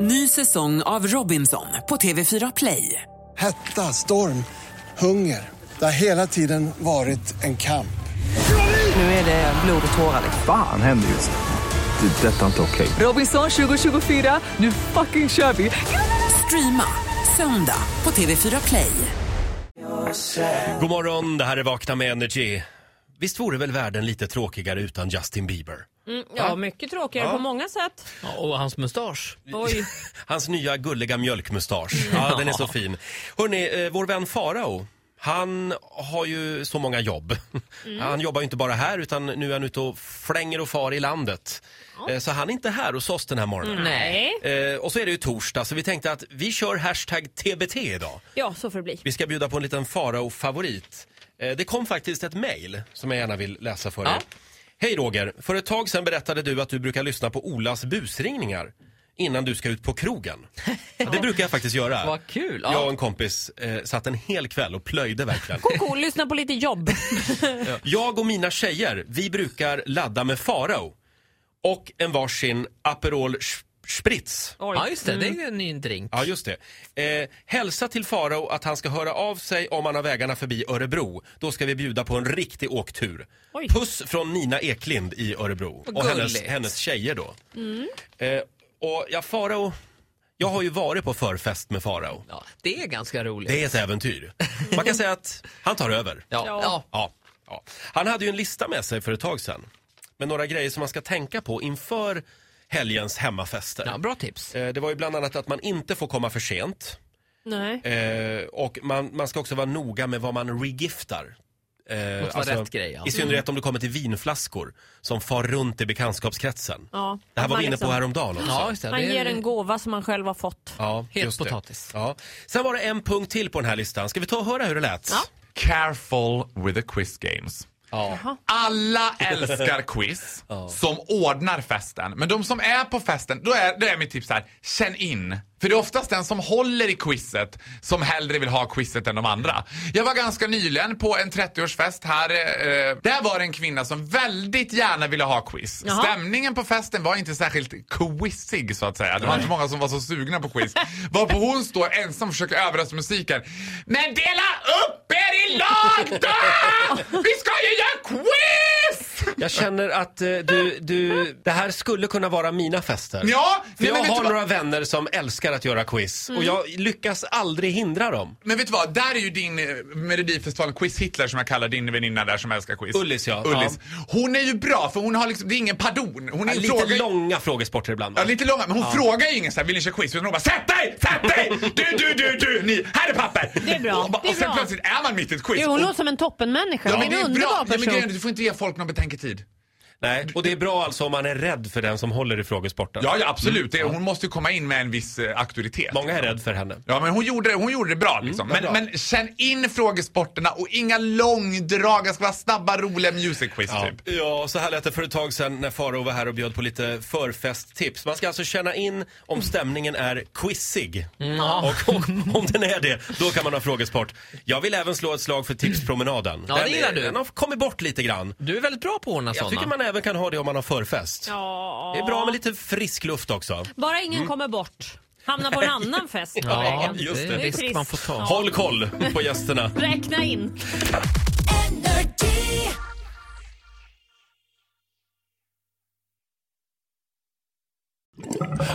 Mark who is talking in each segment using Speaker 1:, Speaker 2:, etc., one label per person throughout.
Speaker 1: Ny säsong av Robinson på TV4 Play.
Speaker 2: Hetta, storm, hunger. Det har hela tiden varit en kamp.
Speaker 1: Nu är det blod och tårar. liksom.
Speaker 3: Fan händer just nu. Det. är Detta är inte okej.
Speaker 1: Robinson 2024, nu fucking kör vi! Streama söndag på TV4 Play.
Speaker 4: God morgon, det här är Vakna med Energy. Visst vore väl världen lite tråkigare utan Justin Bieber?
Speaker 5: Mm, ja, mycket tråkigare på många sätt.
Speaker 6: Och hans mustasch.
Speaker 5: Oj,
Speaker 4: Hans nya gulliga mjölkmustasch. Ja, den är så fin. Hörrni, eh, vår vän Farao. Han har ju så många jobb. Han jobbar ju inte bara här utan nu är han ute och flänger och far i landet. Eh, Så han är inte här hos oss den här morgonen.
Speaker 5: Mm, nej.
Speaker 4: Eh, Och så är det ju torsdag så vi tänkte att vi kör hashtag TBT idag.
Speaker 5: Ja, så får det bli.
Speaker 4: Vi ska bjuda på en liten Farao-favorit. Eh, Det kom faktiskt ett mejl som jag gärna vill läsa för er. Hej Roger! För ett tag sedan berättade du att du brukar lyssna på Olas busringningar innan du ska ut på krogen. Det brukar jag faktiskt göra.
Speaker 6: Vad kul!
Speaker 4: Jag och
Speaker 6: Ja.
Speaker 4: en kompis eh, satt en hel kväll och plöjde verkligen.
Speaker 5: Koko, lyssna på lite jobb.
Speaker 4: Jag och mina tjejer, vi brukar ladda med Farao och en varsin Aperol Sch- Spritz.
Speaker 5: Oj. Mm.
Speaker 6: ja, just det. Det är ju en ny drink.
Speaker 4: Ja, just det. Eh, hälsa till Farao att han ska höra av sig om han har vägarna förbi Örebro. Då ska vi bjuda på en riktig åktur.
Speaker 5: Oj.
Speaker 4: Puss från Nina Eklind i Örebro.
Speaker 6: Vad
Speaker 4: Och hennes,
Speaker 6: gulligt. Mm.
Speaker 4: hennes tjejer då. Eh, och ja, Farao, jag har ju varit på förfest med Farao.
Speaker 6: Ja, det är ganska roligt.
Speaker 4: Det är ett äventyr. Man kan säga att han tar över.
Speaker 6: Ja. Ja.
Speaker 5: Ja.
Speaker 4: Ja, ja. Han hade ju en lista med sig för ett tag sedan. Med några grejer som man ska tänka på inför helgens hemmafester.
Speaker 6: Ja, bra tips.
Speaker 4: Eh, Det var ju bland annat att man inte får komma för sent.
Speaker 5: Nej.
Speaker 4: Eh, och man, man ska också vara noga med vad man regiftar. Eh,
Speaker 6: vara rätt grej, ja.
Speaker 4: I synnerhet om det kommer till vinflaskor som far runt i bekantskapskretsen.
Speaker 5: Ja,
Speaker 4: Det här
Speaker 5: att
Speaker 4: var
Speaker 5: man
Speaker 4: vi inne på
Speaker 5: liksom-
Speaker 4: häromdagen också.
Speaker 6: Ja, just det.
Speaker 5: Han
Speaker 6: det är-
Speaker 5: ger en gåva som han själv har fått.
Speaker 4: Ja,
Speaker 6: Het
Speaker 4: just det.
Speaker 6: potatis.
Speaker 4: Ja. Sen var det en punkt till på den här listan. Ska vi ta och höra hur det lät?
Speaker 5: Ja.
Speaker 7: Careful with the quiz games.
Speaker 6: Ja.
Speaker 7: Alla älskar quiz som ordnar festen. Men de som är på festen, då är, då är mitt tips här, känn in. För det är oftast den som håller i quizet som hellre vill ha quizet än de andra. Jag var ganska nyligen på en 30-årsfest här. Eh, där var det en kvinna som väldigt gärna ville ha quiz.
Speaker 5: Jaha.
Speaker 7: Stämningen på festen var inte särskilt quizig så att säga. Det var inte många som var så sugna på quiz. Varpå hon står ensam och försöker överrösta musiken. Men dela upp er i lag då! Vi ska ju göra quiz!
Speaker 4: Jag känner att eh, du, du, det här skulle kunna vara mina fester.
Speaker 7: Ja,
Speaker 4: För
Speaker 7: nej,
Speaker 4: jag
Speaker 7: men vet du
Speaker 4: har
Speaker 7: vad?
Speaker 4: några vänner som älskar att göra quiz och jag
Speaker 5: Mm.
Speaker 4: lyckas aldrig hindra dem.
Speaker 7: Men vet du vad, där är ju din eh, Melodifestivalen-quiz-Hitler som jag kallar din väninna där som älskar quiz.
Speaker 4: Ullis, ja.
Speaker 7: Ullis. Hon är ju bra för hon har liksom, det är ingen pardon. Hon är
Speaker 4: Lite
Speaker 7: frågar-
Speaker 4: långa frågesporter ibland. va?
Speaker 7: Ja, lite långa. Men hon frågar ju ingen så här, vill ni köra quiz? Utan hon bara, sätt dig! Sätt dig! Du, du, du, du, ni! Här är papper!
Speaker 5: Det är bra,
Speaker 7: Och, bara,
Speaker 5: det är
Speaker 7: och sen
Speaker 5: bra.
Speaker 7: plötsligt är man mitt i ett quiz.
Speaker 5: Jo, hon
Speaker 7: Och-
Speaker 5: låter som en toppenmänniska.
Speaker 7: Ja,
Speaker 5: Ja,
Speaker 7: men
Speaker 5: en
Speaker 7: det är
Speaker 5: underbar
Speaker 7: bra. Ja, men grejen är,
Speaker 5: person.
Speaker 7: du får inte ge folk någon betänketid.
Speaker 4: Nej, och det är bra alltså om man är rädd för den som håller i frågesporten.
Speaker 7: Ja, ja absolut. Det, hon måste ju komma in med en viss eh, auktoritet.
Speaker 4: Mm, Många är rädda för henne.
Speaker 7: Ja, men hon gjorde, det- hon gjorde det bra. Liksom.
Speaker 4: vad Mm, bra.
Speaker 7: men, men känn in frågesporterna och inga långdrag. Det ska vara snabba, roliga music quiz
Speaker 4: Ja.
Speaker 7: typ.
Speaker 4: ja, så här lät det för ett tag sedan när Faro var här och bjöd på lite förfesttips. Man ska alltså känna in om stämningen är quizig.
Speaker 6: Mm,
Speaker 4: Och, och om den är det, då kan man ha frågesport. Jag vill även slå ett slag för tipspromenaden.
Speaker 6: Ja, det
Speaker 4: Den är-
Speaker 6: gillar du.
Speaker 4: Den har kommit bort lite grann.
Speaker 6: Du är väldigt bra på att ordna
Speaker 4: Jag tycker
Speaker 6: sådana.
Speaker 4: man även kan ha det om man har förfest.
Speaker 5: Ja.
Speaker 4: Det är bra med lite frisk luft också.
Speaker 5: Bara ingen kommer bort. Hamnar på en annan fest på
Speaker 6: Mm. Ja,
Speaker 5: vägen.
Speaker 4: just
Speaker 6: just det.
Speaker 4: det.
Speaker 6: är en
Speaker 5: Det är
Speaker 6: risk man får
Speaker 5: trist.
Speaker 6: ta.
Speaker 4: Håll koll på gästerna.
Speaker 5: Räkna in.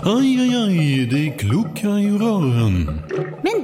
Speaker 8: Aj, aj, aj, det kluckar i rören.
Speaker 9: Men